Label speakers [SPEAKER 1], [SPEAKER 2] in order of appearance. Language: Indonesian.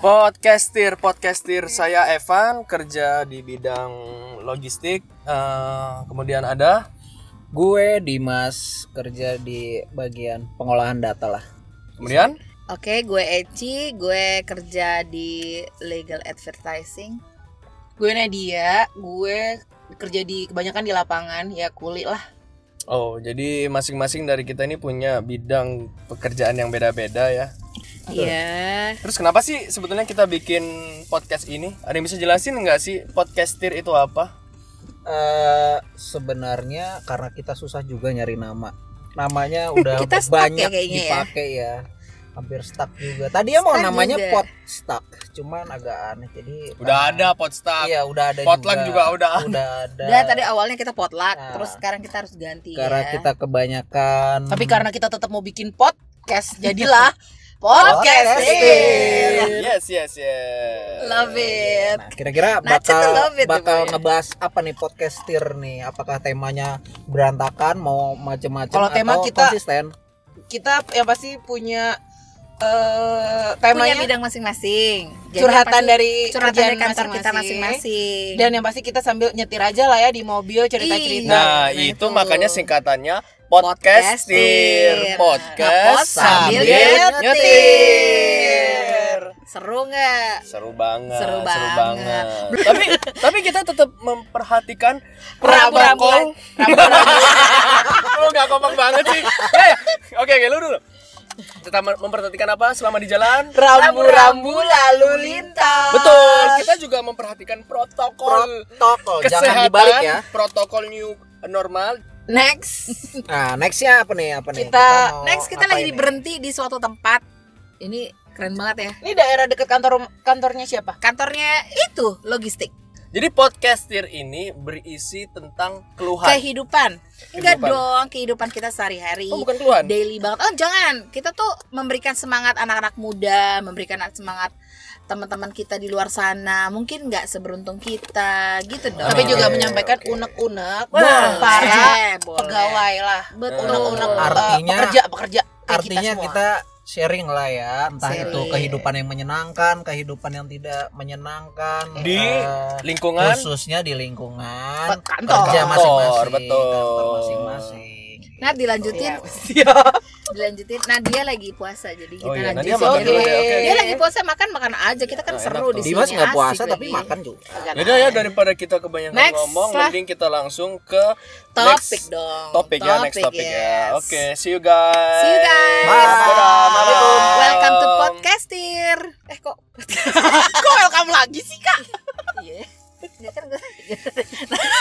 [SPEAKER 1] Podcaster, podcaster saya Evan kerja di bidang logistik. Eh, kemudian ada
[SPEAKER 2] Gue Dimas kerja di bagian pengolahan data lah.
[SPEAKER 1] kemudian
[SPEAKER 3] Oke, gue Eci, gue kerja di legal advertising.
[SPEAKER 4] Gue Nadia, gue kerja di kebanyakan di lapangan ya kulit lah.
[SPEAKER 1] oh jadi masing-masing dari kita ini punya bidang pekerjaan yang beda-beda ya.
[SPEAKER 3] Iya.
[SPEAKER 1] Terus kenapa sih sebetulnya kita bikin podcast ini? Ada yang bisa jelasin nggak sih podcaster itu apa?
[SPEAKER 2] Eh sebenarnya karena kita susah juga nyari nama. Namanya udah
[SPEAKER 3] Kita stuck
[SPEAKER 2] banyak
[SPEAKER 3] ya kayaknya ya.
[SPEAKER 2] dipakai ya. Hampir stuck juga. Tadi ya mau
[SPEAKER 3] Stuck
[SPEAKER 2] namanya
[SPEAKER 3] juga.
[SPEAKER 2] pot stuck, cuman agak aneh. Jadi
[SPEAKER 1] Udah
[SPEAKER 2] karena-
[SPEAKER 1] ada podstack,
[SPEAKER 2] Iya, udah ada
[SPEAKER 1] potluck juga udah.
[SPEAKER 2] Udah ada.
[SPEAKER 3] Udah tadi awalnya kita potluck,
[SPEAKER 2] Nah.
[SPEAKER 3] terus sekarang kita harus ganti
[SPEAKER 2] Karena
[SPEAKER 3] ya.
[SPEAKER 2] kita kebanyakan
[SPEAKER 4] Tapi karena kita tetap mau bikin podcast, jadilah
[SPEAKER 2] Podcasting.
[SPEAKER 4] podcasting.
[SPEAKER 1] Yes, yes, yes.
[SPEAKER 3] Love it.
[SPEAKER 2] Nah, kira-kira
[SPEAKER 3] Nacha
[SPEAKER 2] bakal
[SPEAKER 3] tuh love it tuh,
[SPEAKER 2] bakal
[SPEAKER 3] Pak, ya.
[SPEAKER 2] ngebahas apa nih podcaster nih? Apakah temanya berantakan mau macem-macem
[SPEAKER 4] Kalau tema
[SPEAKER 2] atau
[SPEAKER 4] kita-
[SPEAKER 2] konsisten?
[SPEAKER 4] Kita yang pasti punya eh
[SPEAKER 3] Punya
[SPEAKER 4] temanya
[SPEAKER 3] bidang masing-masing. Jadi apa
[SPEAKER 4] curhatan
[SPEAKER 3] sih?
[SPEAKER 4] dari
[SPEAKER 3] curhatan
[SPEAKER 4] kerjaan
[SPEAKER 3] dari kantor kita masing-masing.
[SPEAKER 4] Dan yang pasti kita sambil nyetir aja lah ya di mobil cerita-cerita.
[SPEAKER 1] Nah,
[SPEAKER 3] Nah,
[SPEAKER 1] itu
[SPEAKER 3] itu.
[SPEAKER 1] makanya singkatannya podcastir. Nah,
[SPEAKER 3] Podcastir.
[SPEAKER 1] Podcast
[SPEAKER 3] Ngepod
[SPEAKER 1] sambil
[SPEAKER 3] sambil
[SPEAKER 1] nyetir.
[SPEAKER 3] nyetir. seru nggak?
[SPEAKER 1] Seru banget,
[SPEAKER 3] Seru banget.
[SPEAKER 1] tapi tapi kita tetap memperhatikan
[SPEAKER 4] Perabot-
[SPEAKER 1] prabokol. Lu enggak kompak banget sih. Ya, ya. Oke, oke, lu dulu. Tetap mem- memperhatikan apa selama di jalan?
[SPEAKER 4] Rambu-rambu lalu lintas.
[SPEAKER 1] Betul, kita juga memperhatikan protokol
[SPEAKER 2] Protokol jangan
[SPEAKER 1] kesehatan,
[SPEAKER 2] dibalik ya.
[SPEAKER 1] protokol new normal.
[SPEAKER 4] Next.
[SPEAKER 2] Nah, nextnya apa nih? Apa nih?
[SPEAKER 4] Kita-
[SPEAKER 2] mau
[SPEAKER 3] Next kita
[SPEAKER 2] Oh, apa
[SPEAKER 3] lagi
[SPEAKER 2] ini?
[SPEAKER 3] berhenti di suatu tempat. Ini keren banget ya.
[SPEAKER 4] Ini daerah dekat kantor kantornya siapa?
[SPEAKER 3] Kantornya itu logistik,
[SPEAKER 1] Jadi podcastir ini berisi tentang keluhan.
[SPEAKER 3] kehidupan. Enggak
[SPEAKER 1] Kehidupan.
[SPEAKER 3] dong, kehidupan kita sehari-hari.
[SPEAKER 1] Oh, bukan keluhan.
[SPEAKER 3] daily banget. Oh jangan, kita tuh memberikan semangat anak-anak muda, memberikan semangat teman-teman kita di luar sana. Mungkin nggak seberuntung kita, gitu dong.
[SPEAKER 4] Tapi juga
[SPEAKER 1] Oke,
[SPEAKER 4] menyampaikan
[SPEAKER 1] oke.
[SPEAKER 4] unek-unek
[SPEAKER 3] Boleh,
[SPEAKER 4] para
[SPEAKER 3] boleh.
[SPEAKER 4] pegawai lah.
[SPEAKER 3] Betul.
[SPEAKER 4] Unek-unek eh,
[SPEAKER 2] Artinya-
[SPEAKER 4] pekerja pekerja kayak
[SPEAKER 2] Artinya
[SPEAKER 4] semua.
[SPEAKER 2] kita sharing lah ya, entah
[SPEAKER 3] Sharing.
[SPEAKER 2] itu kehidupan yang menyenangkan, kehidupan yang tidak menyenangkan
[SPEAKER 1] Di
[SPEAKER 2] eh,
[SPEAKER 1] lingkungan
[SPEAKER 2] khususnya di lingkungan
[SPEAKER 3] Pe- kantor.
[SPEAKER 2] kerja
[SPEAKER 1] Kantor,
[SPEAKER 2] masing-masing,
[SPEAKER 1] betul.
[SPEAKER 2] kantor masing-masing.
[SPEAKER 3] Nah dilanjutin,
[SPEAKER 4] Siap.
[SPEAKER 3] dilanjutin. Nah dia lagi puasa, jadi kita Iya.
[SPEAKER 1] Oh iya,
[SPEAKER 3] lanjutin.
[SPEAKER 1] Nadia makan dulu deh, oke.
[SPEAKER 3] Dia lagi puasa makan makan aja. Kita kan
[SPEAKER 1] Nah,
[SPEAKER 3] seru
[SPEAKER 1] enak
[SPEAKER 3] di
[SPEAKER 1] tuh.
[SPEAKER 3] sini.
[SPEAKER 2] Dimas nggak
[SPEAKER 3] asik
[SPEAKER 2] puasa
[SPEAKER 3] lagi.
[SPEAKER 2] tapi makan juga.
[SPEAKER 1] Yaudah ya daripada kita kebanyakan
[SPEAKER 3] Next
[SPEAKER 1] ngomong,
[SPEAKER 3] lah.
[SPEAKER 1] mending kita langsung ke
[SPEAKER 3] Topik
[SPEAKER 1] next
[SPEAKER 3] dong.
[SPEAKER 1] topik ya, next topik
[SPEAKER 3] yes.
[SPEAKER 1] ya. Oke, see you guys.
[SPEAKER 3] See you guys.
[SPEAKER 2] Bye.
[SPEAKER 1] Dadah, malam.
[SPEAKER 3] Welcome to podcastir. Eh kok
[SPEAKER 4] Kok welcome lagi sih kak?
[SPEAKER 3] Iya. Ya kan gue-